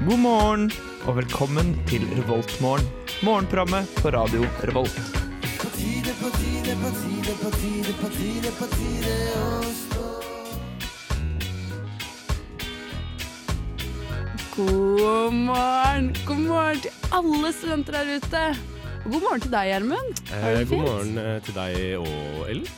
morgen, og velkommen til Revoltmorgen. Morgenprogrammet på radio Revolt. God morgen! God morgen til alle studenter der ute. Og God morgen til deg, Gjermund. Har du Eh, det god fint? morgen eh, til deg og Ellen.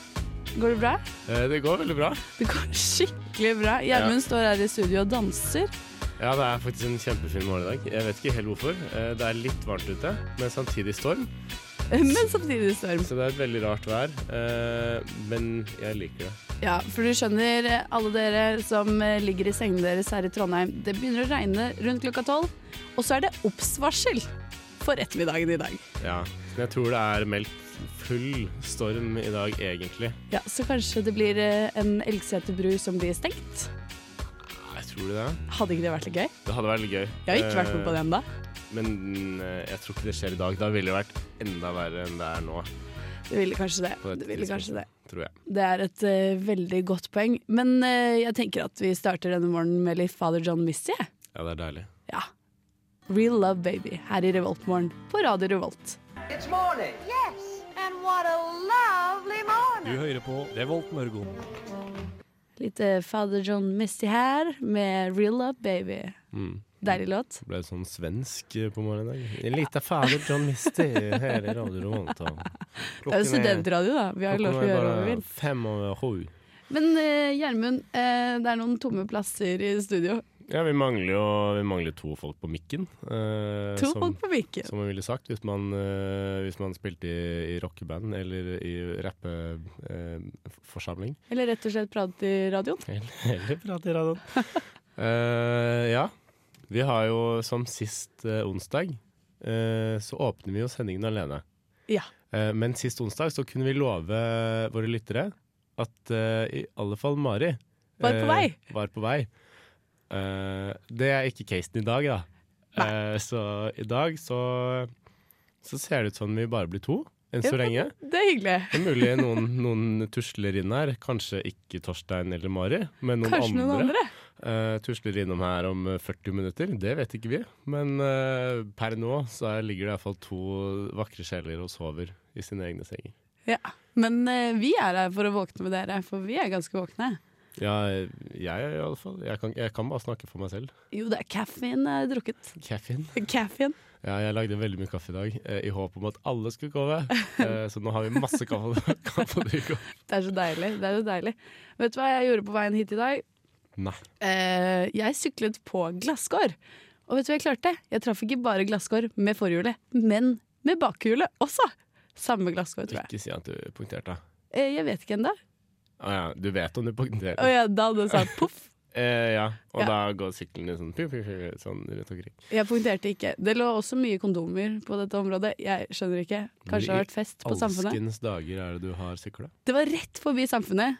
Går det bra? Eh, det går veldig bra. Det går skikkelig bra. Gjermund står her i studio og danser. Ja, Det er faktisk en kjempefin morgen i dag. Jeg vet ikke helt hvorfor. Eh, det er litt varmt ute, men samtidig storm. Men samtidig storm. Så det er et veldig rart vær. Eh, men jeg liker det. Ja, for du skjønner, eh, alle dere som eh, ligger i sengene deres her i Trondheim, det begynner å regne rundt klokka tolv. Og så er det oppsvarsel for ettermiddagen i dag. Ja. Men jeg tror det er meldt full storm i dag, egentlig. Ja, Så kanskje det blir eh, en Elgseterbru som blir stengt. Nei, tror du det? Hadde ikke det vært litt gøy? Det hadde vært litt gøy. Jeg har ikke vært med på det ennå. Men eh, jeg tror ikke det skjer i dag. Da ville det vært enda verre enn det er nå, Det ville kanskje det. På dette Det ville kanskje det. tror jeg. Det er et eh, veldig godt poeng. Men eh, jeg tenker at vi starter denne morgenen med litt Father John Missy. jeg. Ja, det er deilig. Ja. Real Love Baby her i Revoltmorgen på Radio Revolt. It's morning. Yes, and what a lovely morning. Du hører på Revolt Mørgon. Litt eh, Father John Missy her med Real Love Baby. Mm. Deilig låt. Ble det sånn svensk eh, på morgenen i dag? En liten fader John Misty her i Radio Revolta. Det er jo studentradio, da. Vi har jo lov til å gjøre hva vi vil. fem over sju. Men eh, Gjermund, eh, det er noen tomme plasser i studio. Ja, vi mangler jo vi mangler to folk på mikken. eh, To som, folk på mikken. Som man ville sagt hvis man, eh, hvis man spilte i, i rockeband eller i eh, rappeforsamling. Eller rett og slett prate i radioen. eller eller prate i radioen. Eh, ja. Vi har jo som sist eh, onsdag, eh, så åpner vi jo sendingen alene. Ja. Eh, Men sist onsdag så kunne vi love våre lyttere at eh, i alle fall Mari Var på eh, vei. var på vei. Eh, det er ikke casen i dag, da. Eh, så i dag så, så ser det ut som vi bare blir to enn så lenge. Det er hyggelig. Det er mulig noen, noen tusler inn her. Kanskje ikke Torstein eller Mari, men noen Kanskje andre. noen andre. Eh, tusler innom her om eh, 40 minutter. Det vet ikke vi. Men eh, per nå så er- ligger det iallfall to vakre sjeler og sover i sine egne senger. Ja. Men eh, vi er her for å våkne med dere, for vi er ganske våkne. Ja, jeg i alle fall. Jeg kan, jeg kan bare snakke for meg selv. Jo, det er kaffen jeg har drukket. Kaffen. Kaffen. Ja, jeg lagde veldig mye kaffe i dag eh, i håp om at alle skulle komme. Eh, så nå har vi masse kaffe, kaffe å drikke. Det er så deilig. det er så deilig. Vet du hva jeg gjorde på veien hit i dag? Nei. Eh, jeg syklet på glasskår. Og vet du hva jeg klarte? Jeg traff ikke bare glasskår med forhjulet, men med bakhjulet også. Samme glasskår, tror jeg. Ikke si at du punkterte. Eh, jeg vet ikke ennå. Å ja, du vet om du punkterte. Og jeg, da hadde jeg sagt poff. Eh, ja. Og Ja. da går sykkelen litt sånn, pju, pju, pju, sånn rundt omkring. Jeg punkterte ikke. Det lå også mye kondomer på dette området. Jeg skjønner ikke. Kanskje det har vært fest på Samfunnet. Alskens dager er det du har sykla. Det var rett forbi Samfunnet.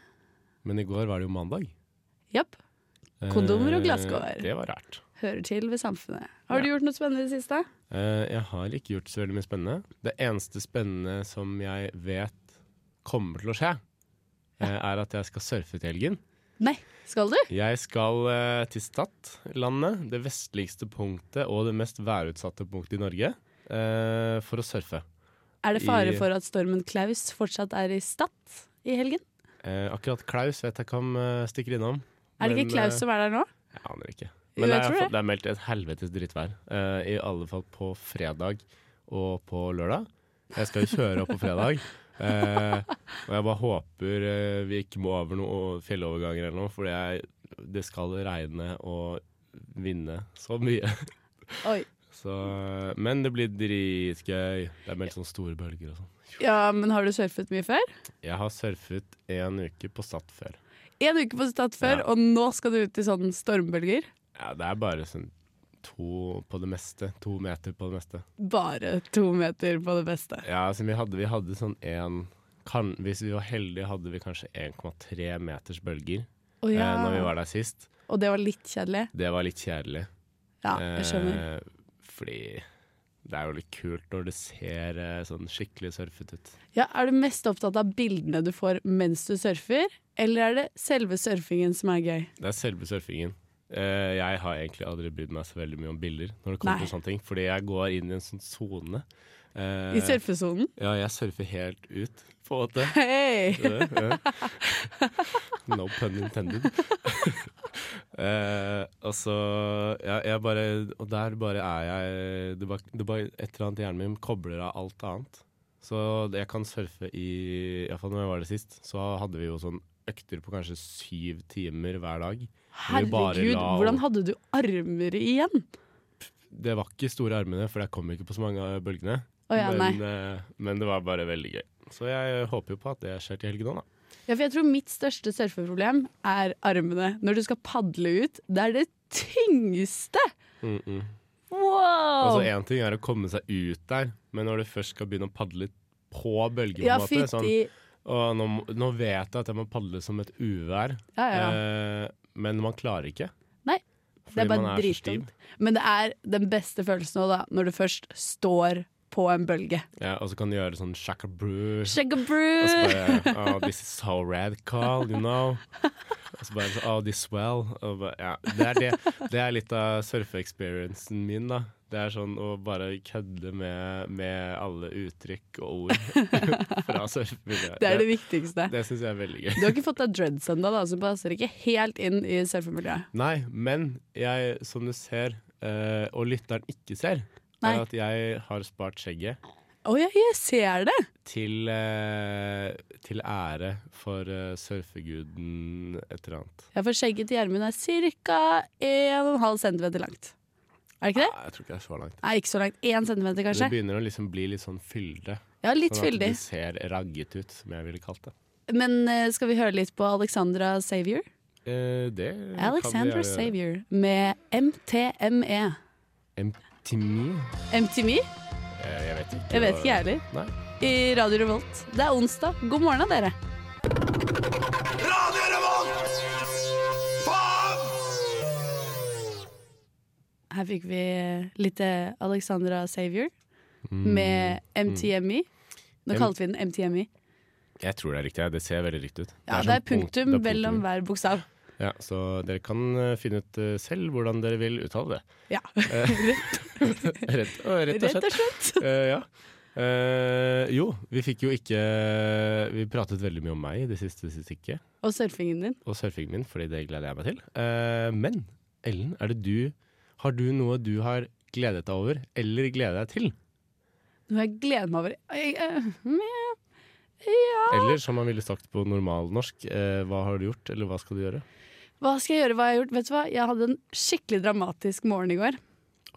Men i går var det jo mandag. Japp. Kondomer og Eh, glasskår. Det var rart. Hører til ved Samfunnet. Har du gjort noe spennende i det siste? Eh, jeg har ikke gjort så veldig mye spennende. Det eneste spennende som jeg vet kommer til å skje, eh, er at jeg skal surfe til helgen. Nei. Skal du? Jeg skal eh, til Stadlandet, det vestligste punktet og det mest værutsatte punktet i Norge, eh, for å surfe. Er det fare I- for at stormen Klaus fortsatt er i Stad i helgen? Eh, akkurat Klaus vet jeg ikke om eh, stikker innom. Er det men, ikke Klaus eh, som er der nå? Jeg aner ikke. Jo, Men det jeg er, tror det. det er meldt et helvetes drittvær. eh, I alle fall på fredag og på lørdag. Jeg skal jo kjøre opp på fredag. eh, og jeg bare håper eh, vi ikke må over noen fjelloverganger eller noe, for jeg, det skal regne og vinne så mye. Oi. Så, men det blir dritgøy. Det er meldt sånne store bølger og sånn. Ja, men har du surfet mye før? Jeg har surfet en uke på Stad før. En uke på Stad før, Ja. og nå skal du ut i sånne stormbølger? Ja, det er bare sånn to på det meste. To meter på det meste. Bare to meter på det beste. Ja, altså, vi, hadde, vi hadde sånn en kan, Hvis vi var heldige, hadde vi kanskje 1,3 meters bølger Å ja. eh, når vi var der sist. Og det var litt kjedelig? Det var litt kjedelig. Ja, jeg skjønner. Eh, fordi det er jo litt kult når det ser eh, sånn skikkelig surfet ut. Ja, Er du mest opptatt av bildene du får mens du surfer, eller er det selve surfingen som er gøy? Det er selve surfingen. Eh, jeg har egentlig aldri brydd meg så veldig mye om bilder, Når det kommer Nei. til sånne ting fordi jeg går inn i en sånn sone. Eh, I surfesonen. ja, jeg surfer helt ut, på en måte. Hei! Eh, eh. No pun intended. eh, og så ja, jeg bare Og der bare er jeg det bare, det bare Et eller annet i hjernen min kobler av alt annet. Så det- jeg kan surfe i Iallfall når jeg var det sist, så hadde vi jo sånn økter på kanskje syv timer hver dag. Vi bare Herregud, la- hvordan hadde du armer igjen? Det var ikke store armene, for jeg kom ikke på så mange av bølgene. Å ja, nei. men, eh, men det var bare veldig gøy. Så jeg håper jo på at det skjer til helgen òg, da. Ja, for jeg tror mitt største surfeproblem er armene. Når du skal padle ut, det er det tyngste! Mm -mm. Wow! Altså Én ting er å komme seg ut der, men når du først skal begynne å padle på bølgen ja, på en måte, sånn, fytti. og nå, må- nå vet jeg at jeg må padle som et uvær, Ja, ja, ja. eh, men man klarer ikke. Nei, Fordi Det er man bare så dritdumt. stiv. Men det er den beste følelsen nå, da, når du først står på en bølge. Ja, og så kan du gjøre sånn shakabroo. Og så Shagaboo! bare oh, This is so radical, you know. Og så bare Oh, this well. Og bare, ja. det, er det. det er litt av surfe-experiencen min, da. Det er sånn å bare kødde med, med alle uttrykk og ord fra surfemiljøet. Det er det viktigste. Det syns jeg er veldig gøy. Du har ikke fått deg dreads ennå, da, så passer ikke helt inn i surfemiljøet. Nei, men jeg, som du ser, eh, og lytteren ikke ser, Nei. er at jeg har spart skjegget Å ja, jeg ser det! til, eh, til ære for eh, surfeguden et eller annet. Ja, for skjegget til Gjermund er ca. 1,5 cm langt. Er det ikke det? Nei, jeg tror ikke det er så langt. Nei, ikke så langt. 1 cm, Det kanskje? begynner å liksom bli litt sånn fylde. Ja, litt Sånn at fyldig. det ser ragget ut, som jeg ville kalt det. Men eh, skal vi høre litt på Alexandra Savior? Eh, det Alexandra Savior med MTME. Emptimi? MTME? Eh, jeg vet ikke. E? Jeg vet hva- ikke, jeg heller. Nei. I Radio Revolt. Det er onsdag. God morgen, da, dere. Her fikk vi litt eh, Alexandra Savior med MTME. E. Nå Mm. M- kalte vi den MTME. Jeg tror det er riktig. ja. Det ser veldig riktig ut. E. Ja, det sånn er punktum punkt- det er mellom punktum. hver bokstav. Ja, så dere kan eh, finne ut eh, selv hvordan dere vil uttale det. Ja, Rett, å, rett og rett slett. og slett. Eh, ja. Eh, jo, vi fikk jo ikke eh, Vi pratet veldig mye om meg i det siste stykket, Og surfingen din. og surfingen min, fordi det gleder jeg meg til. Eh, men Ellen, er det du Har du noe du har gledet deg over, eller gleder deg til? Nå har jeg gledet meg over Jeg, eh, mm, Eller som man ville sagt på normalnorsk, eh, hva har du gjort, eller hva skal du gjøre? Hva skal jeg gjøre? Hva har jeg gjort? Vet du hva? Jeg hadde en skikkelig dramatisk morgen i går.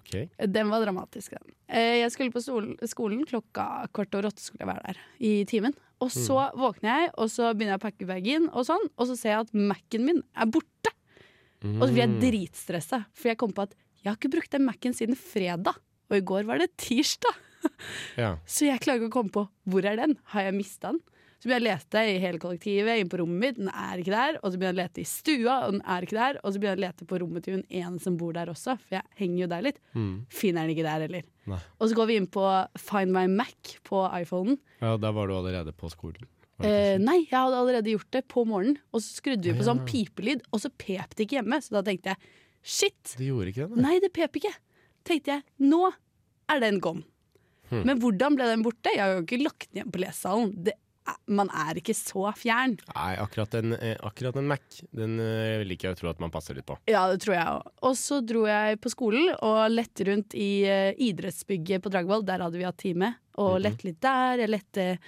Ok, Den var dramatisk, den. Eh, Jeg skulle på stol- skolen klokka kvart over åtte skulle jeg være der i timen. Og så våkner jeg, og så begynner jeg å pakke bagen, og sånn, og så ser jeg at Mac-en min er borte. Og så blir jeg Mm, dritstressa, for jeg kom på at jeg har ikke brukt den Mac-en siden fredag. Og i går var det tirsdag, ja. så jeg klarer ikke å komme på hvor er den. Har jeg mista den? Så begynner jeg å lete i hele kollektivet, inn på rommet mitt, den er ikke der. Og så begynner jeg å lete i stua, og den er ikke der. Og så begynner jeg å lete på rommet til hun ene som bor der også, for jeg henger jo der litt Mm. finner den ikke der heller. Nei. Og så går vi inn på Find my Mac på iPhonen. ja, da var du allerede på skolen. var det Eh, ikke nei, jeg hadde allerede gjort det på morgenen, og så skrudde vi på Ja. sånn pipelyd, og så pep det ikke hjemme. Så da tenkte jeg shit, sånn? Du gjorde ikke det? nei? nei, det pep ikke. Tenkte jeg, nå er den gone. Hmm. Men hvordan ble den borte? Jeg har jo ikke lagt den igjen på lesesalen. Det er- Man er ikke så fjern. Nei, akkurat en, eh, akkurat en Mac Den eh, liker jeg å tro at man passer litt på. Ja, det tror jeg òg. Og så dro jeg på skolen og lette rundt i eh, idrettsbygget på Dragvoll. Der hadde vi hatt time. Og lette litt der. Jeg lette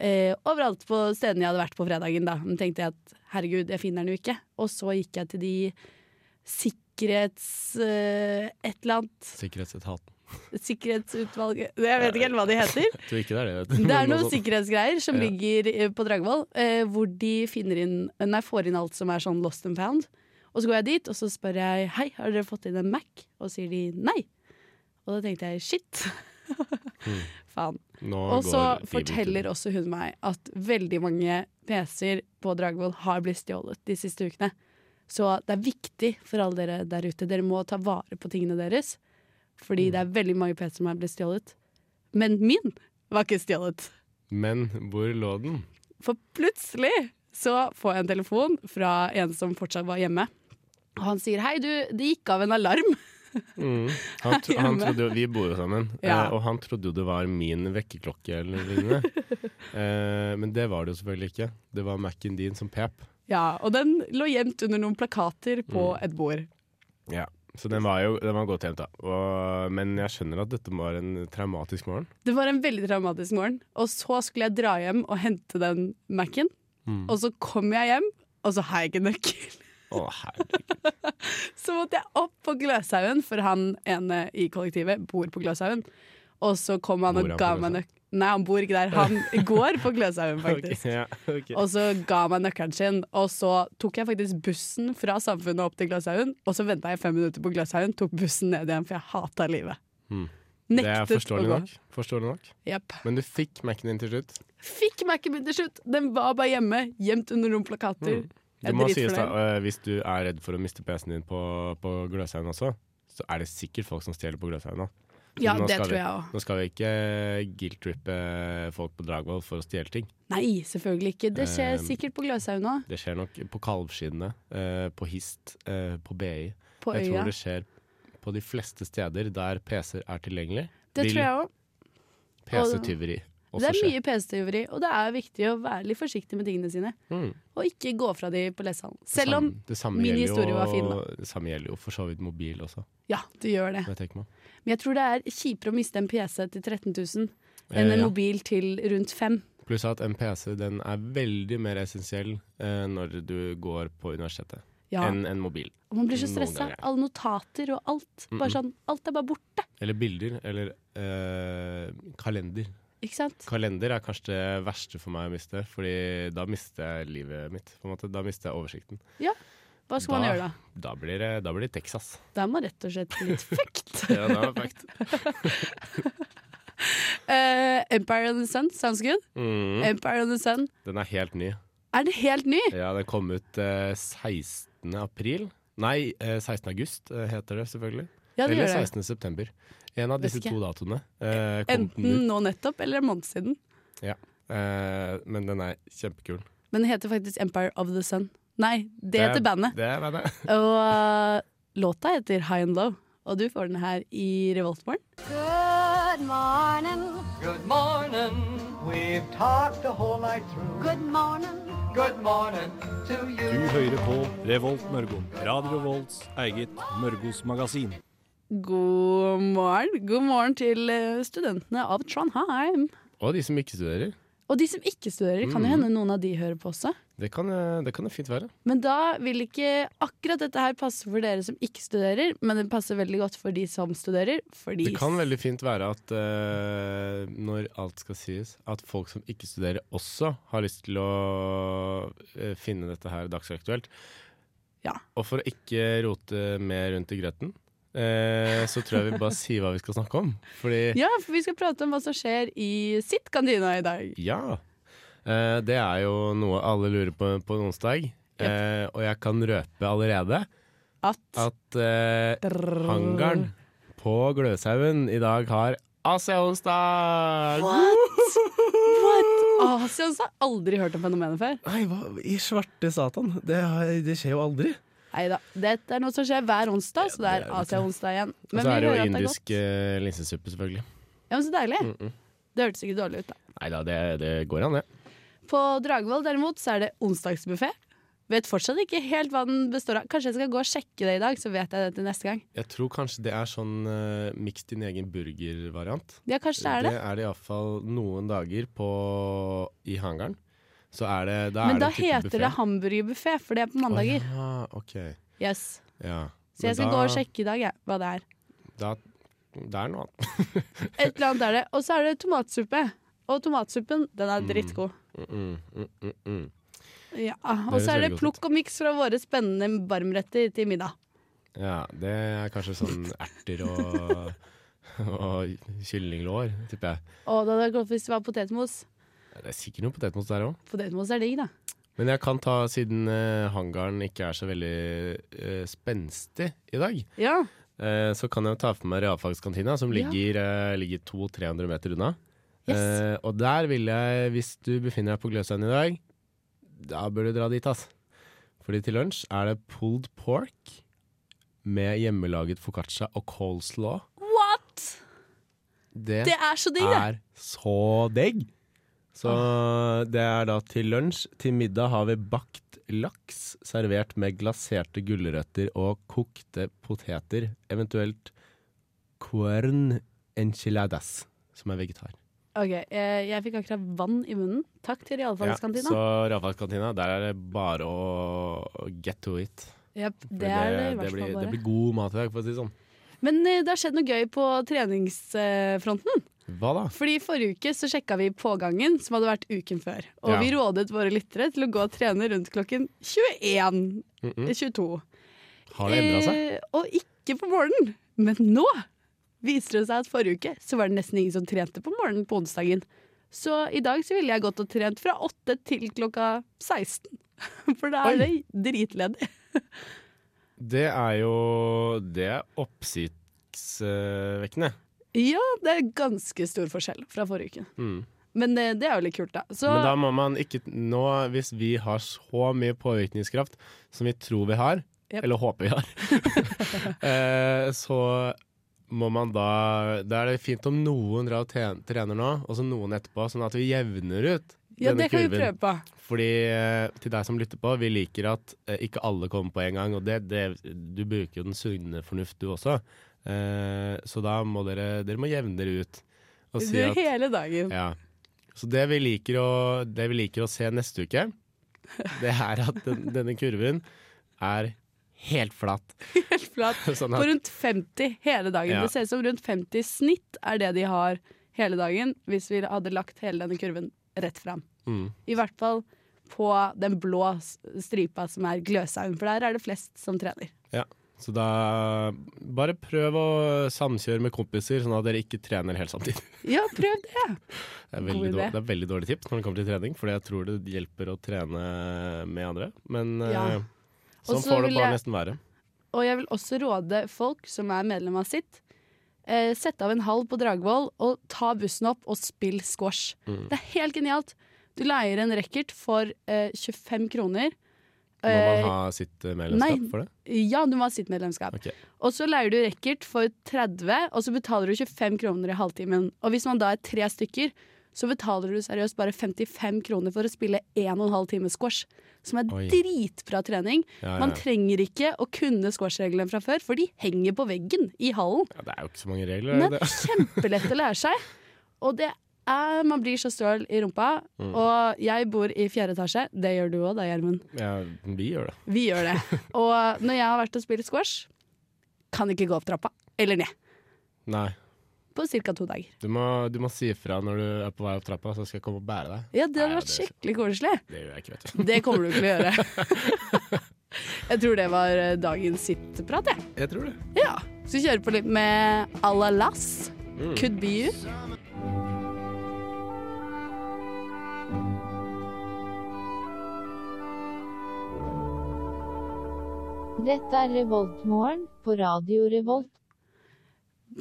eh, overalt på stedene jeg hadde vært på fredagen. Da Men tenkte jeg at herregud, jeg finner den jo ikke. Og så gikk jeg til de sikkerhets... eh, et eller annet. Sikkerhetsetaten. Sikkerhetsutvalget Jeg vet ikke helt hva de heter. Jeg tror ikke det er det, vet du. Det er men noe noen sånt. sikkerhetsgreier som Ja. ligger eh, på Dragvoll, eh, hvor de finner inn, nei, får inn alt som er sånn lost and found. Og så går jeg dit og så spør jeg hei, har dere fått inn en Mac? Og sier de nei. Og da tenkte jeg shit. Faen. Nå Og så går fiberen forteller også hun meg at veldig mange PC-er på Dragvoll har blitt stjålet de siste ukene. Så det er viktig for alle dere der ute. Dere må ta vare på tingene deres. Fordi det er veldig mange PC-er som er blitt stjålet. Men min var ikke stjålet. til. Men hvor lå den? For plutselig så får jeg en telefon fra en som fortsatt var hjemme. Og han sier 'hei, du, det gikk av en alarm'. Mm. Han, tro- han trodde jo, vi bor jo sammen, Ja. eh, og han trodde jo det var min vekkerklokke eller lignende. Eh, men det var det jo selvfølgelig ikke. Det var Mac-en din som pep. Ja, Og den lå gjemt under noen plakater på Mm. et bord. Ja. Så den var jo den var godt gjemt, da. Og, men jeg skjønner at dette var en traumatisk morgen. Det var en veldig traumatisk morgen. Og så skulle jeg dra hjem og hente den Mac-en. Mm. Og så kom jeg hjem, og så har jeg ikke nøkkel. Å, herregud. Så måtte jeg opp på Gløshaugen, for han ene i kollektivet bor på Gløshaugen. Og så kom han Bor og han på ga meg nøkkelen. Nei, han bor ikke der. Han går på Gløshaugen, faktisk. Ok, ja, ok. Og så ga han meg nøkkelen sin, og så tok jeg faktisk bussen fra Samfunnet opp til Gløshaugen. Og så venta jeg fem minutter på Gløshaugen, tok bussen ned igjen, for jeg hata livet. Mm. Det er Nektet å forståelig gå. nok. forståelig nok. Jepp. Men du fikk Mac-en din til slutt. Fikk Mac-en min til slutt! Den var bare hjemme, gjemt under noen plakater. Jeg Det er Hmm. må sies da, dritfornøyd. eh, Hvis du er redd for å miste PC-en din på, på Gløshaugen også, så er det sikkert folk som stjeler på Gløshaugen. da. Så Ja, nå det skal tror vi- jeg òg. Nå skal vi ikke guilt-rippe folk på Dragvoll for å stjele ting. Nei, selvfølgelig ikke. Det skjer Eh, sikkert på Gløshaugen òg. Det skjer nok på Kalvskinnet, eh, på Hist, eh, på BI. På Jeg øya. tror det skjer på de fleste steder der PC-er er tilgjengelig. Det tror vil jeg òg. PC-tyveri også Det er skje. mye PC-tyveri, og det er viktig å være litt forsiktig med tingene sine. Mm. Og ikke gå fra de på lesehallen. Selv om det samme min gjelder jo- historie var fin, da. Det samme gjelder jo for så vidt mobil også. Ja, du gjør det. når jeg tenker meg om. Men jeg tror det er kjipere å miste en PC til 13 000 enn Eh, en ja. mobil til rundt 5 Pluss at en PC den er veldig mer essensiell eh, når du går på universitetet, Ja. enn en mobil. Og man blir så noen stressa. ganger. Alle notater og alt. Bare sånn, alt er bare borte. Eller bilder, eller eh, kalender. Ikke sant? Kalender er kanskje det verste for meg å miste, Fordi da mister jeg livet mitt. På en måte. Da mister jeg oversikten. Hva skal man Da- gjøre da? Da blir det, da blir det Texas. Da er man rett og slett litt fucked. Ja, det er perfekt. Eh, Empire and the Sun, sounds good. Mm. Empire and the Sun. Den er helt ny. Er den helt ny? Ja, Den kom ut eh, 16. april. Nei, eh, 16. august eh, heter det selvfølgelig. Ja, det Eller gjør det. 16. september. En av Vet disse ikke. to datoene eh, kom den ut. Enten nå nettopp eller en måned siden. Eh, men den er kjempekul. Men den heter faktisk Empire of the Sun. Nei, det, er- heter bandet. Det er bandet. Og øh, låta heter High and Low, og du får den her i Revoltmorgen. Good morning. Good morning. We've talked the whole night through. Good morning. Good morning to you. Du hører på Revolt Mørgo. Radio Volts eget Mørgos magasin. God morgen. God morgen til øh, studentene av Trondheim. Og de som ikke studerer. Og de som ikke studerer, kan Mm. jo hende noen av de hører på også. Det kan eh, det kan det fint være. Men da vil ikke akkurat dette her passe for dere som ikke studerer, men det passer veldig godt for de som studerer. Fordi Det kan veldig fint være at eh, når alt skal sies, at folk som ikke studerer også har lyst til å eh, finne dette her dagsaktuelt. Ja. Og for å ikke rote mer rundt i grøten, eh, så tror jeg vi bare sier hva vi skal snakke om. Fordi ja. Ja, for vi skal prate om hva som skjer i sitt kantina i dag. Eh, det er jo noe alle lurer på på en onsdag. Eh, og jeg kan røpe allerede At at eh, hangaren på Gløshaugen i dag har Asia-onsdag! What? What? Asians altså, har aldri hørt om fenomenet før. Nei, hva i svarte satan? Det, har- det skjer jo aldri. Neida, Dette er noe som skjer hver onsdag, så det er Asia-onsdag igjen. Og så er vi det hører jo at indisk godt. eh, linsesuppe, selvfølgelig. Ja, men Så deilig. Det hørtes ikke dårlig ut, da. Nei da, det, det går an, det. På Dragvoll derimot så er det onsdagsbuffé. Vet fortsatt ikke helt hva den består av. Kanskje jeg skal gå og sjekke det i dag, så vet jeg det til neste gang. Jeg tror kanskje det er sånn uh, miks din egen burger-variant. Ja, kanskje det er det. Det er det iallfall noen dager på, i hangaren. Så er det da Men er da det en type heter det buffet. hamburgerbuffé, for det er på mandager. Å ja, ok. Yes. Ja. Så jeg Men skal da- gå og sjekke i dag, jeg, hva det er. Da, det er noe annet. Et eller annet er det. Og så er det tomatsuppe. Og tomatsuppen, den er drittgod. Mm, mm, mm, mm. Ja. Og så er høres veldig det godt ut. plukk og miks fra våre spennende varmretter til middag. Ja, det er kanskje sånn erter og, og kyllinglår, tipper jeg. Og det hadde vært godt hvis det var potetmos. Det er sikkert noe potetmos der òg. Potetmos er digg, da. Men jeg kan ta, siden eh, hangaren ikke er så veldig eh, spenstig i dag, Ja. eh, så kan jeg jo ta for meg realfagskantina, som Ja. ligger, eh, ligger 200-300 meter unna. Yes. Eh, og der vil jeg, hvis du befinner deg på Gløshaugen i dag, da bør du dra dit, ass. Fordi til lunsj er det pulled pork med hjemmelaget foccaccia og coleslaw. What?! Det, Det er så digg, det! er så digg! Så Ah. det er da til lunsj. Til middag har vi bakt laks servert med glaserte gulrøtter og kokte poteter, eventuelt cuern enchiladas, som er vegetar. Ok, jeg, jeg fikk akkurat vann i munnen. Takk til realfagskantina. Så Rafaelskantina, der er det bare å get to it. Jep, For det er det i hvert fall blir, det bare. blir god mat i dag, for å si det sånn. Men eh, det har skjedd noe gøy på treningsfronten. Hva da? Fordi Forrige uke så sjekka vi pågangen, som hadde vært uken før. Og Ja. vi rådet våre lyttere til å gå og trene rundt klokken 21. Mm eh, 22. Har det endra seg? Eh, og ikke på morgenen. Men nå viser det seg at forrige uke så var det nesten ingen som trente på morgenen på onsdagen. Så i dag så ville jeg gått og trent fra 8 til klokka 16. For da Oi. er det dritledig. Det er jo Det er oppsiktsvekkende. Ja, det er ganske stor forskjell fra forrige uke. Mm. Men eh, det er jo litt kult, da. Så Men da må man ikke nå, Hvis vi har så mye påvirkningskraft som vi tror vi har, Jep. eller håper vi har, eh, så må man da Da er det fint om noen drar og te- trener nå, og så noen etterpå, sånn at vi jevner ut. ja, denne det kan vi kurven. prøve på. Fordi eh, til deg som lytter på, vi liker at eh, ikke alle kommer på en gang. Og det, det, du bruker jo den sunne fornuft, du også. Eh, Så da må dere, dere må jevne dere ut. Og si Det er at, hele dagen. ja. Så det vi, liker å, det vi liker å se neste uke, det er at den, denne kurven er helt flatt. Helt flat. Sånn På at rundt 50 hele dagen. Ja. Det ser ut som rundt 50 i snitt er det de har hele dagen, hvis vi hadde lagt hele denne kurven rett fram. mm, I hvert fall på den blå s- stripa som er Gløshaugen, for der er det flest som trener. Så da bare prøv å samkjøre med kompiser, sånn at dere ikke trener helt samtidig. Ja, prøv det! Det er, God veldig idé. dårlig, det er veldig dårlig tips når det kommer til trening, for jeg tror det hjelper å trene med andre. Men Ja. eh, sånn Også får det vil bare jeg- nesten være. Og jeg vil også råde folk som er medlem av sitt, eh, sette av en halv på Dragvoll og ta bussen opp og spill squash. Mm. Det er helt genialt. Du leier en racket for eh, 25 kroner. Må Eh, man ha sitt eh, medlemskap nei. for det? Ja, du må ha sitt medlemskap. Ok. Og så leier du racket for 30, og så betaler du 25 kroner i halvtimen. Og hvis man da er tre stykker, så betaler du seriøst bare 55 kroner for å spille 1 12 time squash. Som er Oi. dritbra trening. Ja, ja. Man trenger ikke å kunne squashreglene fra før, for de henger på veggen i hallen. ja, det er jo ikke så mange regler. Men er det det? er kjempelett å lære seg. Og det er, man blir så støl i rumpa. Mm. Og jeg bor i fjerde etasje. Det gjør du òg da, Gjermund. Ja, vi gjør det. Vi gjør det. Og når jeg har vært og spilt squash, kan ikke gå opp trappa eller ned Nei. på ca. to dager. Du må, du må si ifra når du er på vei opp trappa, så skal jeg komme og bære deg. Ja, det Nei, hadde vært det er skikkelig koselig. Det gjør jeg ikke, vet du. Det kommer du ikke til å gjøre. Jeg tror det var eh, dagens sittprat, jeg. Jeg tror det. Ja. Så vi kjører på litt med à la Lass. Mm. Could be you. Dette er Revoltmorgen på Radio Revolt.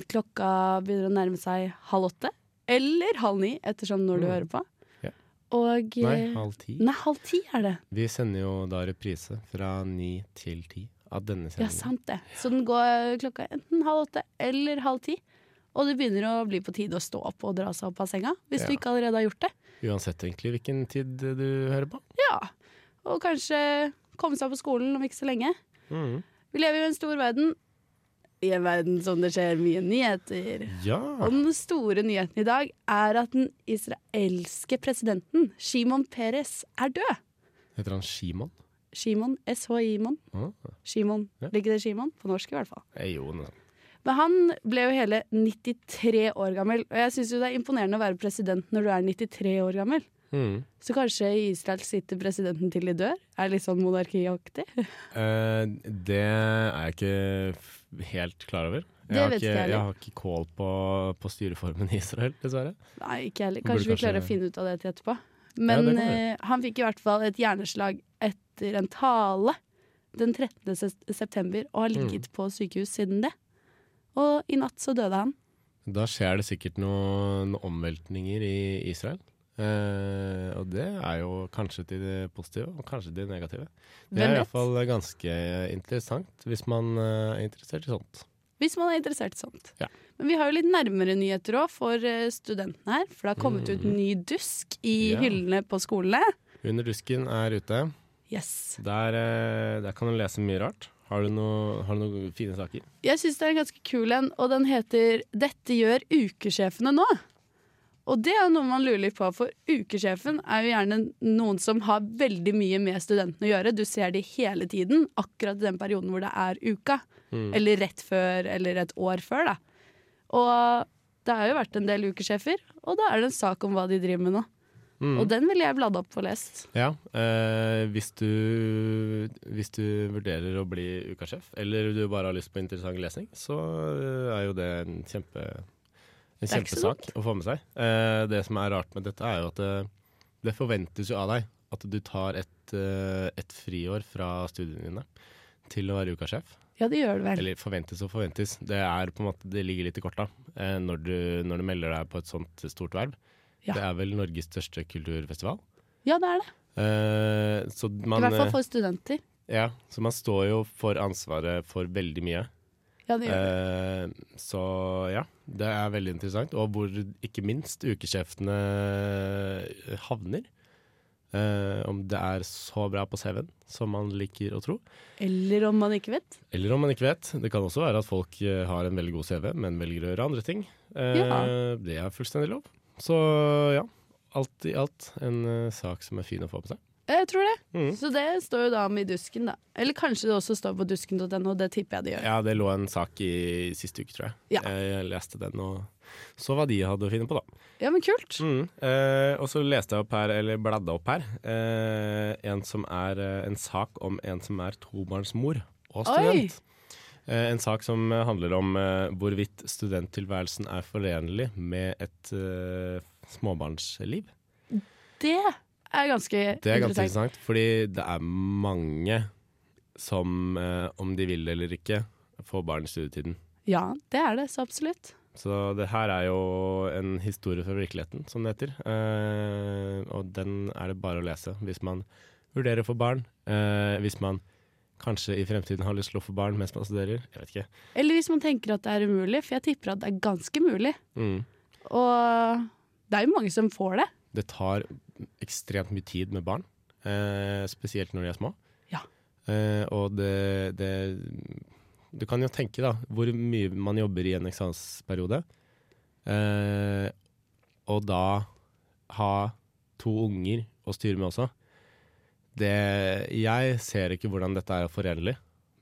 Klokka begynner å nærme seg halv åtte. Eller halv ni, ettersom når du hører på. Mm. Ja. Og Nei, eh, halv ti. Nei, halv ti er det. Vi sender jo da reprise fra ni til ti av denne Ja, sendingen. sant det. Så den går eh, klokka enten halv åtte eller halv ti. Og det begynner å bli på tide å stå opp og dra seg opp av senga, hvis du Ja. ikke allerede har gjort det. Uansett egentlig hvilken tid du hører på. Ja. Og kanskje komme seg på skolen om ikke så lenge. Mm. Vi lever jo i en stor verden. I en verden som det skjer mye nyheter. Ja. Og den store nyheten i dag er at den israelske presidenten Shimon Peres er død. Heter han Shimon? Shimon, SHIMon. Ah. Shimon. Ja. Ligger det Shimon? På norsk, i hvert fall. Eh, Jo, noe sånt. Men han ble jo hele 93 år gammel, og jeg syns jo det er imponerende å være president når du er 93 år gammel. Mm. Så kanskje i Israel sitter presidenten til de dør? Er litt sånn monarkiaktig? Eh, det er jeg ikke f- helt klar over. Jeg, Det har, vet ikke ikke, jeg heller. jeg har ikke kål på, på styreformen i Israel, dessverre. Nei, ikke heller. Burde Kanskje vi klarer kanskje- å finne ut av det til etterpå. Men det kan vi. eh, han fikk i hvert fall et hjerneslag etter en tale den 13. ses- september, og har Mm. ligget på sykehus siden det. Og i natt så døde han. Da skjer det sikkert noen omveltninger i Israel. Eh, Eh, og det er jo kanskje til det positive, og kanskje til det negative. Det Hvem er vet? iallfall ganske interessant, hvis man eh, er interessert i sånt. Hvis man er interessert i sånt. Ja. Men vi har jo litt nærmere nyheter òg for eh, studentene her. For det har kommet ut ny dusk i Mm. Ja. hyllene på skolene. Under dusken er ute. Yes. Der, eh, der kan du lese mye rart. Har du, noe, har du noen fine saker? Jeg syns det er en ganske kul en, og den heter 'Dette gjør ukesjefene nå'. Og det er jo noe man lurer litt på, for ukesjefen er jo gjerne noen som har veldig mye med studentene å gjøre. Du ser de hele tiden, akkurat i den perioden hvor det er uka. Mm. Eller rett før, eller et år før, da. Og det har jo vært en del ukesjefer, og da er det en sak om hva de driver med nå. Mm. Og den ville jeg bladd opp og lest. Ja, eh, hvis, du, hvis du vurderer å bli ukasjef, eller du bare har lyst på interessant lesning, så eh, er jo det en, kjempe, Det en er ikke så kjempesak å få med seg. Eh, det som er rart med dette, er jo at det, det forventes jo av deg at du tar et, eh, et friår fra studiene dine til å være ukasjef. Ja, det gjør det vel. Eller forventes og forventes. Det, er på en måte, det ligger litt i korta eh, når, du, når du melder deg på et sånt stort verv. Ja. Det er vel Norges største kulturfestival. Ja, det er det. Eh, så, I man, hvert fall for studenter. eh, ja, så man står jo for ansvaret for veldig mye. Ja, det gjør det. Eh, så ja, det er veldig interessant. Og hvor ikke minst ukesjefene havner. Eh, om det er så bra på CV-en som man liker å tro. Eller om man ikke vet. Eller om man ikke vet. Det kan også være at folk eh, har en veldig god CV, men velger å gjøre andre ting. Eh, Ja. Det er fullstendig lov. Så ja, alt i alt en eh, sak som er fin å få med seg. Eh, Jeg tror det. Mm. Så det står jo da om i dusken, da. Eller kanskje det også står på dusken.no, det tipper jeg det gjør. Ja, det lå en sak i siste uke, tror jeg. Ja. Jeg, jeg leste den og så hva de hadde å finne på, da. Ja, men kult. Mm. Eh, og så leste jeg opp her, eller bladde opp her, eh, en som er eh, en sak om en som er tobarnsmor og student. Eh, en sak som eh, handler om eh, hvorvidt studenttilværelsen er forenlig med et eh, småbarnsliv. Det er ganske Det er ganske interessant. interessant, fordi det er mange som, eh, om de vil eller ikke, får barn i studietiden. Ja, det er det så absolutt. Så det her er jo en historie fra virkeligheten, som det heter. Eh, og den er det bare å lese hvis man vurderer å få barn. Eh, hvis man kanskje i fremtiden har lyst til å få barn mens man studerer. Jeg vet ikke. Eller hvis man tenker at det er umulig, for jeg tipper at det er ganske mulig. Mm. Og det er jo mange som får det. Det tar ekstremt mye tid med barn, eh, spesielt når de er små. Ja. Eh, og det, det Du kan jo tenke da hvor mye man jobber i en eksamensperiode, eh, og da ha to unger å styre med også. Det, jeg ser ikke hvordan dette er forenlig,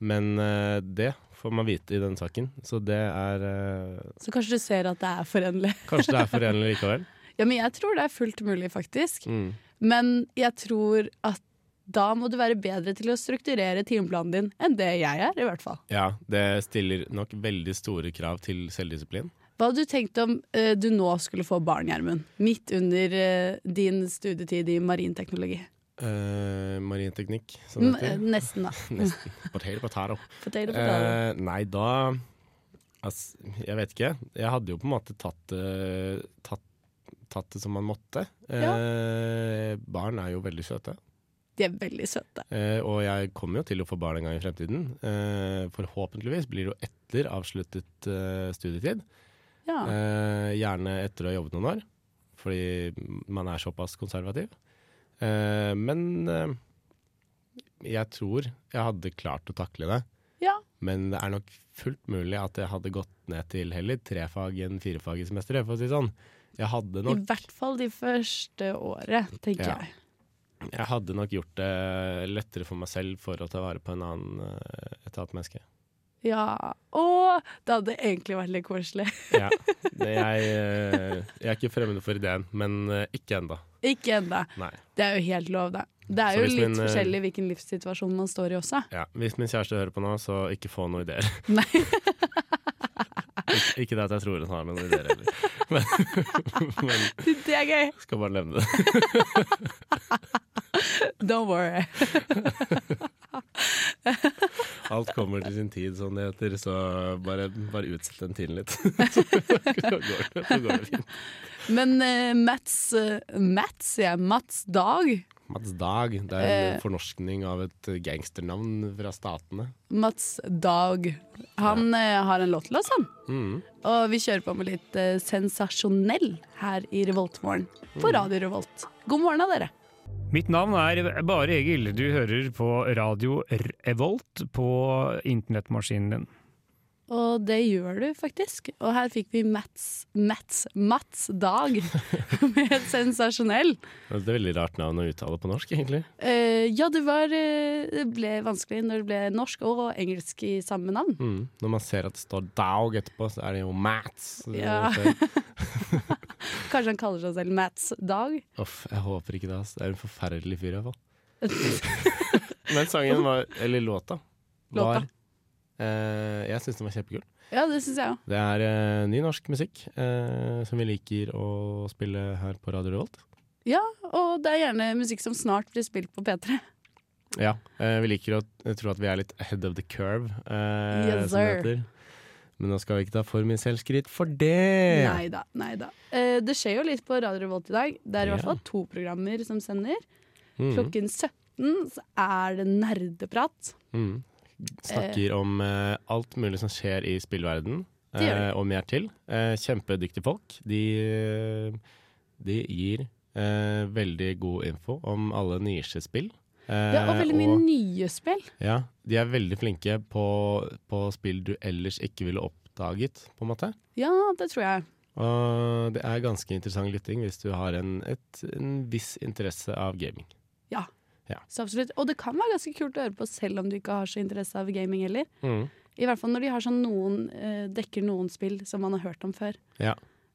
men eh, det får man vite i denne saken. Så det er eh, Så kanskje du ser at det er forenlig. Kanskje det er forenlig likevel. Ja, men jeg tror det er fullt mulig, faktisk. Mm. Men jeg tror at da må du være bedre til å strukturere timeplanen din enn det jeg er, i hvert fall. Ja, det stiller nok veldig store krav til selvdisiplin. Hva hadde du tenkt om eh, du nå skulle få barn, Gjermund? Midt under eh, din studietid i marinteknologi. Eh, marinteknikk, som M eh, det heter. nesten, da. Nesten. Potato, potato. Potato, potato. Eh, nei, da ass, Jeg vet ikke. Jeg hadde jo på en måte tatt, det- tatt, tatt det som man måtte. Eh, Barn er jo veldig søte. De er veldig søte. Eh, og jeg kommer jo til å få barn en gang i fremtiden. Eh, forhåpentligvis blir det jo etter avsluttet eh, studietid. Ja. Eh, gjerne etter å ha jobbet noen år, fordi man er såpass konservativ. Eh, men eh, jeg tror jeg hadde klart å takle det. Ja. Men det er nok fullt mulig at jeg hadde gått ned til heller tre fag enn fire fag i semesteret, for å si det sånn. Jeg hadde I nok, hvert fall de første året, tenker Ja. jeg. jeg hadde nok gjort det lettere for meg selv for å ta vare på en annen, eh, et annet menneske. Ja. Å, det hadde egentlig vært litt koselig. Ja. Det, jeg, eh, jeg er ikke fremmed for ideen, men eh, ikke ennå. Ikke ennå. Nei. Det er jo helt lov, det. Det Så er jo hvis litt min, eh, forskjellig hvilken livssituasjon man står i også. Ja, hvis min kjæreste hører på nå, så ikke få noen ideer. Nei. Ik ikke det at jeg tror hun har noen ideer heller, men, men Det er gøy! skal bare nevne det. Don't worry. Alt kommer til sin tid, som det heter, så bare, bare utsett den tiden litt. så, går det, så går det fint. Men eh, Mats eh, Mats, sier jeg. Mats Dag. Mats Dag. Det er Eh. en fornorskning av et gangsternavn fra statene. Mats Dag. Han eh, har en låt til oss, han. Mm. Og vi kjører på med litt eh, sensasjonell her i Revoltmorgen på Radio Revolt. God morgen av dere. Mitt navn er Bare Egil. Du hører på Radio Revolt på internettmaskinen din. Og det gjør du faktisk. Og her fikk vi Mats Mats Mats Dag med sensasjonell. Det er et veldig rart navn å uttale på norsk, egentlig. Eh, ja, det var eh, Det ble vanskelig når det ble norsk og engelsk i samme navn. Mm. Når man ser at det står Dag etterpå, så er det jo Mats. Ja. Så- Kanskje han kaller seg selv Mats Dag. Uff, jeg håper ikke det. ass. Det er en forferdelig fyr, i hvert fall. Men sangen var Eller låta. Var, Låta. eh, jeg syns den var kjempekul. Ja, det syns jeg òg. Det er eh, ny norsk musikk eh, som vi liker å spille her på Radio Revolt. Ja, og det er gjerne musikk som snart blir spilt på P3. Ja, eh, vi liker å t- tro at vi er litt ahead of the curve, eh, Yes, som det sir. heter. Men nå skal vi ikke ta for mye selvskritt for det! Nei da, nei da. Eh, det skjer jo litt på Radio Revolt i dag. Det er i Ja. hvert fall to programmer som sender. Mm, Klokken 17 så er det nerdeprat. mm. Snakker om eh, alt mulig som skjer i spillverden, Det gjør eh, og mer til. Eh, kjempedyktige folk. De, eh, de gir eh, veldig god info om alle nisjespill. Eh, Ja, og veldig mye og- nye spill. Ja, de er veldig flinke på, på spill du ellers ikke ville oppdaget, på en måte. Ja, det tror jeg. Og det er ganske interessant lytting hvis du har en, et, en viss interesse av gaming. Så absolutt. Og det kan være ganske kult å høre på selv om du ikke har så interesse av gaming heller. I hvert fall når de har sånn noen, eh, dekker noen spill som man har hørt om før.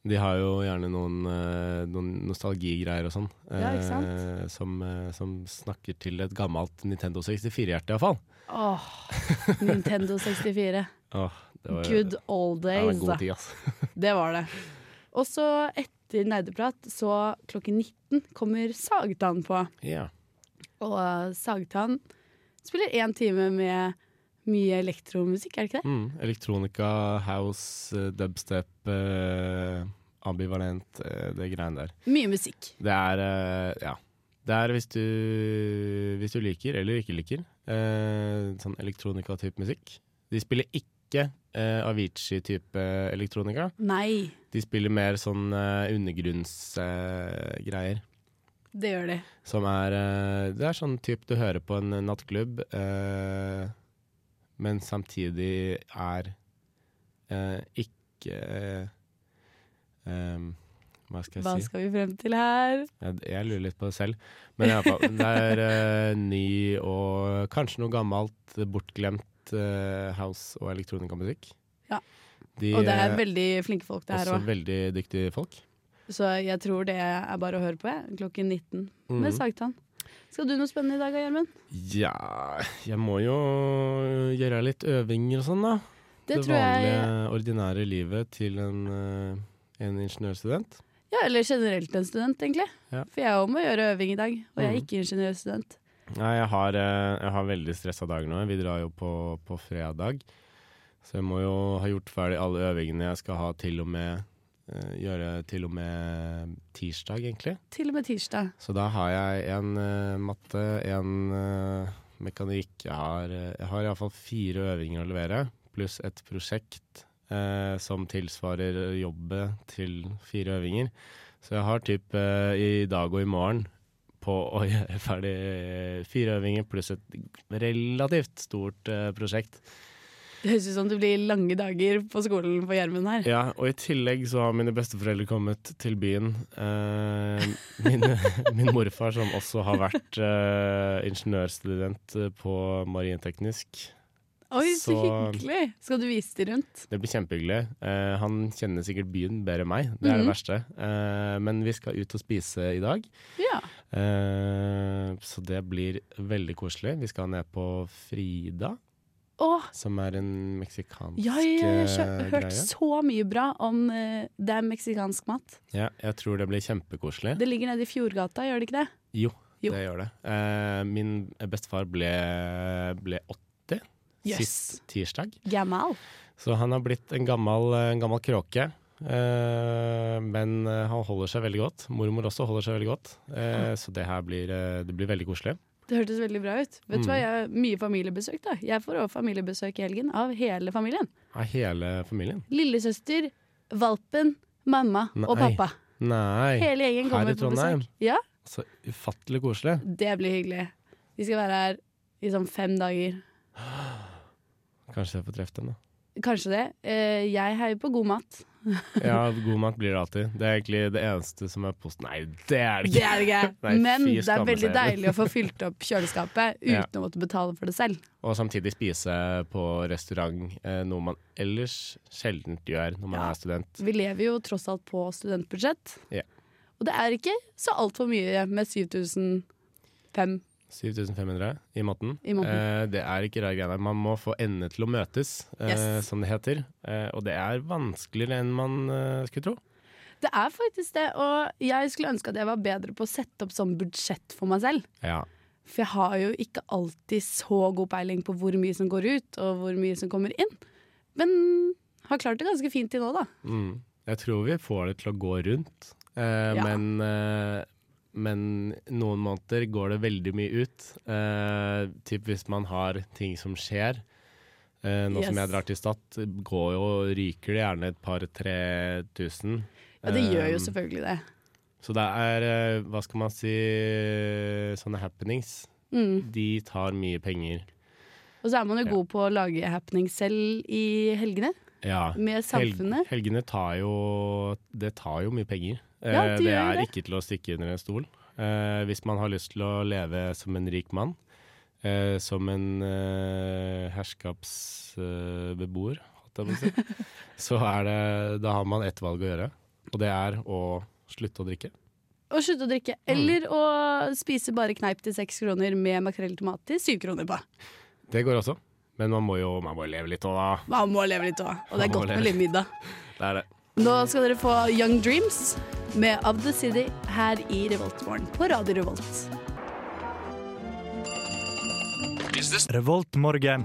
De har jo gjerne noen, eh, noen nostalgigreier og sånn, Ja, ikke sant? eh, som, eh, som snakker til et gammelt Nintendo 64-hjerte iallfall. Åh, Nintendo 64. Åh, det var, Good old det var en days. god tid, altså. ass. Det var det. Og så etter nerdeprat, så klokken 19 kommer Sagtann på. Ja. Og eh, Sagtann spiller én time med mye elektromusikk, er det ikke det? Mm, elektronika, house, eh, dubstep, eh, ambivalent, eh, det greiene der. Mye musikk. Det er eh, Ja. Det er hvis du, hvis du liker eller ikke liker eh, sånn elektronika-type musikk. De spiller ikke eh, Avicii-type elektronika. Nei, De spiller mer sånn eh, undergrunnsgreier. det gjør de. som er eh, Det er sånn type du hører på en nattklubb, eh, men samtidig er eh, ikke eh, em, Hva skal jeg Hva si? skal vi frem til her? Jeg, jeg lurer litt på det selv. Men i alle fall, det er eh, ny og kanskje noe gammelt, bortglemt eh, house- og elektronikamusikk. Ja. De Og det er eh, altså- veldig flinke folk det her også òg. veldig dyktige folk. Så jeg tror det er bare å høre på, jeg. Klokken 19 med Mhm. Sagtann. Skal du noe spennende i dag, Gjermund? Ja, jeg må jo gjøre litt øvinger og sånn, da. Det, tror vanlige, jeg ordinære livet til en, eh, en ingeniørstudent. Ja, eller generelt en student, egentlig. Ja. For jeg òg må gjøre øving i dag, og jeg er Mhm. ikke ingeniørstudent. Nei, jeg har, eh, jeg har veldig stressa dager nå. Vi drar jo på, på fredag. Så jeg må jo ha gjort ferdig alle øvingene jeg skal ha til og med eh, Gjøre til og med tirsdag, egentlig. Til og med tirsdag. Så da har jeg en eh, matte, en eh, mekanikk Jeg har, eh, jeg har iallfall fire øvinger å levere, pluss et prosjekt eh, som tilsvarer jobbet til fire øvinger. Så jeg har typ eh, i dag og i morgen på å gjøre ferdig eh, fire øvinger pluss et relativt stort eh, prosjekt. Det høres ut som det blir lange dager på skolen for Gjermund her. Ja, og i tillegg så har mine besteforeldre kommet til byen. Eh, min, min morfar, som også har vært eh, ingeniørstudent eh, på marinteknisk. Oi, så, så- hyggelig! Skal du vise de rundt? Det blir kjempehyggelig. Eh, han kjenner sikkert byen bedre enn meg, det er det Mhm. verste. Eh, men vi skal ut og spise i dag, Ja. eh, så det blir veldig koselig. Vi skal ned på Frida, Åh, som er en meksikansk ja, ja, jeg har eh, kjø- hørt greie. så mye bra om eh, det er meksikansk mat. Ja, jeg tror det blir kjempekoselig. Det ligger nede i Fjordgata, gjør det ikke det? Jo, Jo. det gjør det. Eh, min bestefar ble, ble 80 Jøss. sist tirsdag, Gamal. så han har blitt en gammel, en gammel kråke. Eh, Men eh, han holder seg veldig godt. Mormor også holder seg veldig godt. Eh, så det her blir, eh, det blir veldig koselig. Det hørtes veldig bra ut. Vet Mm. du hva, jeg har mye familiebesøk, da. Jeg får også familiebesøk i helgen av hele familien. Av hele familien. Lillesøster, valpen, mamma og Nei. pappa. Nei, Hele gjengen Her i kommer på Trondheim? besøk. Ja, så ufattelig koselig. det blir hyggelig. Vi skal være her i sånn fem dager. Kanskje jeg får treffe dem, da. Kanskje det. Eh, Jeg heier på god mat. Ja, god mat blir det alltid. Det er egentlig det eneste som er post... Nei, det er det Det ikke! er det ikke. Nei, Men fy det er skamme veldig seg. deilig å få fylt opp kjøleskapet uten Ja. å måtte betale for det selv. Og samtidig spise på restaurant, eh, noe man ellers sjelden gjør når man Ja. er student. Vi lever jo tross alt på studentbudsjett. Ja. Og det er ikke så altfor mye med 7005. 7500 i måneden. I måneden. Eh, det er ikke rar greie. Man må få endene til å møtes, eh, Yes. som det heter. Eh, og det er vanskeligere enn man eh, skulle tro. Det er faktisk det, og jeg skulle ønske at jeg var bedre på å sette opp sånn budsjett for meg selv. Ja. For jeg har jo ikke alltid så god peiling på hvor mye som går ut, og hvor mye som kommer inn. Men har klart det ganske fint til nå, da. Mm. Jeg tror vi får det til å gå rundt, eh, Ja. men, eh, men noen måneder går det veldig mye ut. Eh, typ hvis man har ting som skjer. Eh, nå som Yes. jeg drar til Stad, går jo, ryker det gjerne et par-tre tusen. Ja, det gjør Eh, jo selvfølgelig det. Så det er, eh, hva skal man si, sånne happenings. Mm. De tar mye penger. Og så er man jo Ja. god på å lage happening selv i helgene, Ja. med samfunnet. Helg, helgene tar jo Det tar jo mye penger. Ja, Eh, de det gjør er det. ikke til å stikke under en stol. Eh, hvis man har lyst til å leve som en rik mann, eh, som en eh, herskapsbeboer, si, så er det Da har man ett valg å gjøre, og det er å slutte å drikke. Og slutte å drikke. Mm. Eller å spise bare kneip til seks kroner med makrell i tomat til syv kroner på. Det går også, men man må jo man må leve litt òg, da. Man må leve litt òg, og det Man er må godt med leve. litt middag. Det er det. Nå skal dere få Young Dreams med Of The City her i Revoltmorgen på Radio Revolt. Revoltmorgen.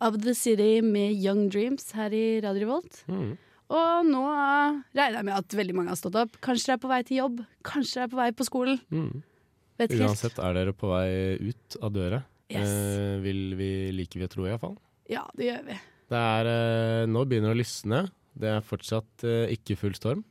Of The City med Young Dreams her i Radio Revolt. Mm. Og nå eh, regner jeg med at veldig mange har stått opp. Kanskje dere er på vei til jobb, kanskje dere er på vei på skolen. Mm. Vet ikke helt. Uansett er dere på vei ut av døra. Yes. Eh, vil vi, liker vi å tro, iallfall. Ja, det gjør vi. Det er, eh, nå begynner det å lysne. Det er fortsatt eh, ikke full storm.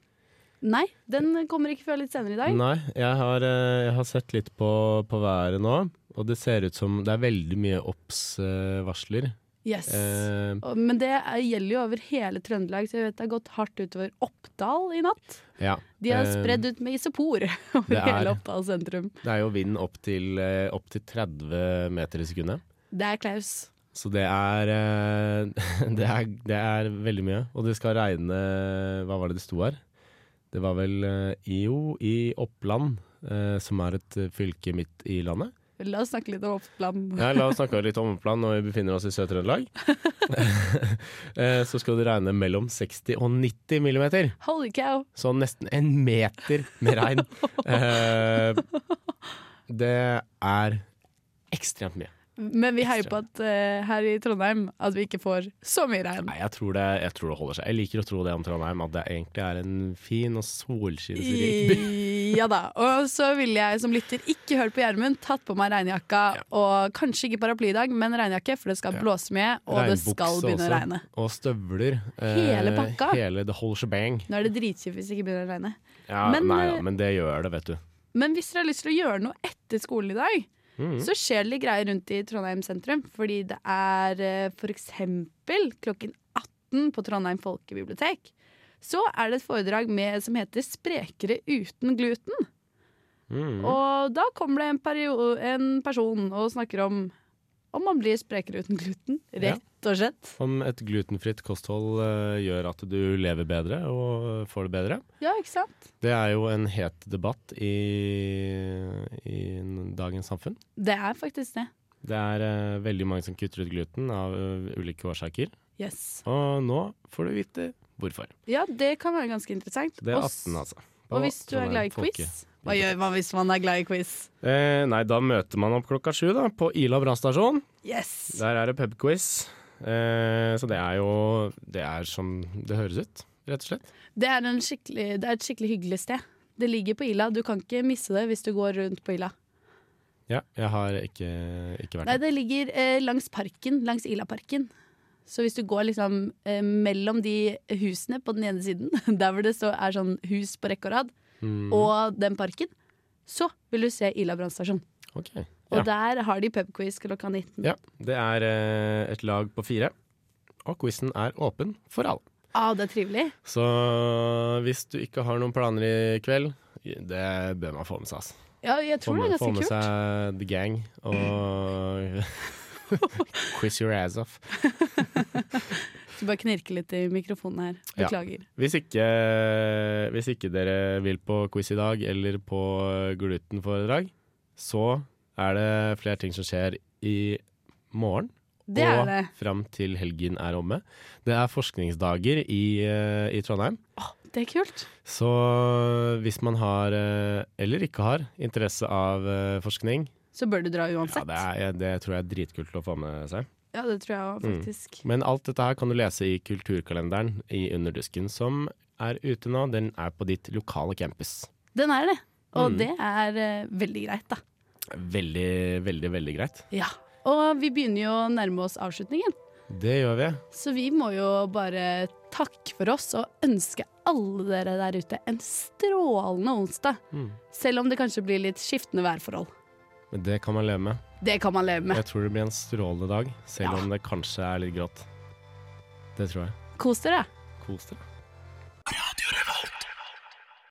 Nei, den kommer ikke før litt senere i dag. Nei, jeg har, eh, jeg har sett litt på, på været nå, og det ser ut som det er veldig mye obs-varsler. Yes. Eh, Og- Men det er, gjelder jo over hele Trøndelag, så jeg vet det har gått hardt utover Oppdal i natt. ja. De har Eh, spredd ut med isopor over det er- hele Oppdal sentrum. Det er jo vind opp til, eh, opp til 30 meter i sekundet. Det er Klaus. Så det er, eh, det, er, det er veldig mye. Og det skal regne Hva var det det sto her? Det var vel eh, IO i Oppland, eh, som er et eh, fylke midt i landet. La oss snakke litt om Oppland. Ja, la oss snakke litt om Oppland når vi befinner oss i Sør-Trøndelag. Eh, så skal det regne mellom 60 og 90 millimeter. Holy cow! Så nesten en meter med regn. Eh, det er ekstremt mye. Men vi heier på at eh, her i Trondheim at vi ikke får så mye regn. Nei, jeg tror, det, jeg tror det holder seg. Jeg liker å tro det om Trondheim, at det egentlig er en fin og solskinnsrik by. I- Ja da. Og så ville jeg som lytter ikke hørt på Gjermund, tatt på meg regnjakka og kanskje ikke paraply i dag, men regnjakke, for det skal blåse mye, og det skal Regnbukse begynne å også, regne. Og støvler. Eh, Hele pakka. Hele the whole shebang. Nå er det dritkjipt hvis det ikke begynner å regne. Ja, Men, nei, eh, ja, men det gjør det, vet du. Men hvis dere har lyst til å gjøre noe etter skolen i dag, Mm. så skjer det litt greier rundt i Trondheim sentrum. Fordi det er eh, for eksempel klokken 18 på Trondheim folkebibliotek. Så er det et foredrag med, som heter 'Sprekere uten gluten'. Mm. Og da kommer det en, perio- en person og snakker om om man blir sprekere uten gluten. Ja. Rett og slett. Om et glutenfritt kosthold eh, gjør at du lever bedre og eh, får det bedre. Ja, ikke sant? Det er jo en het debatt i, i dagens samfunn. Det er faktisk det. Det er eh, veldig mange som kutter ut gluten av eh, ulike årsaker. Yes. Og nå får du vite hvorfor. Ja, det kan være ganske interessant. Det er Og 18, altså. Da Og hvis du er Trondheim glad i Folke- quiz Hva gjør man hvis man er glad i quiz? Eh, nei, da møter man opp klokka sju da, på Ila brannstasjon. Yes! Der er det pubquiz. Eh, så det er jo Det er som det høres ut, rett og slett. Det er, en skikkelig, det er et skikkelig hyggelig sted. Det ligger på Ila. Du kan ikke misse det hvis du går rundt på Ila. Ja, jeg har ikke, ikke vært Nei, der. det ligger eh, langs parken, langs Ilaparken. Så hvis du går liksom eh, mellom de husene på den ene siden, der hvor det står, er sånn hus på rekke og rad, Mm, og den parken, så vil du se Ila brannstasjon. ok. Og Ja. der har de pubquiz klokka 19. ja. Det er eh, et lag på fire, og quizen er åpen for alle. Ah, det er trivelig. Så hvis du ikke har noen planer i kveld, det bør man få med seg. Altså. Ja, jeg Få tror det med, er få ganske med kult. seg The Gang og Quiz your ass off. Så bare knirke litt i mikrofonen her. Ja. Beklager. Hvis ikke, hvis ikke dere vil på quiz i dag eller på glutenforedrag, så er det flere ting som skjer i morgen. Det er og det. fram til helgen er omme. Det er forskningsdager i, eh, i Trondheim. Det er kult. Så hvis man har, eh, eller ikke har, interesse av eh, forskning, Så bør du dra ja, uansett. det, er, det tror jeg er dritkult å få med seg. Ja, det tror jeg òg, Mm. faktisk. Men alt dette her kan du lese i kulturkalenderen i Underdusken, som er ute nå. Den er på ditt lokale campus. Den er det. Og Mm. det er eh, veldig greit, da. Veldig, veldig, veldig greit. Ja. Og vi begynner jo å nærme oss avslutningen, Det gjør vi. så vi må jo bare takke for oss og ønske alle dere der ute en strålende onsdag. Mm. Selv om det kanskje blir litt skiftende værforhold. Men det kan man leve med. Det kan man leve med. Jeg tror det blir en strålende dag, Ja. selv om det kanskje er litt grått. Det tror jeg. Kos dere. Kos dere.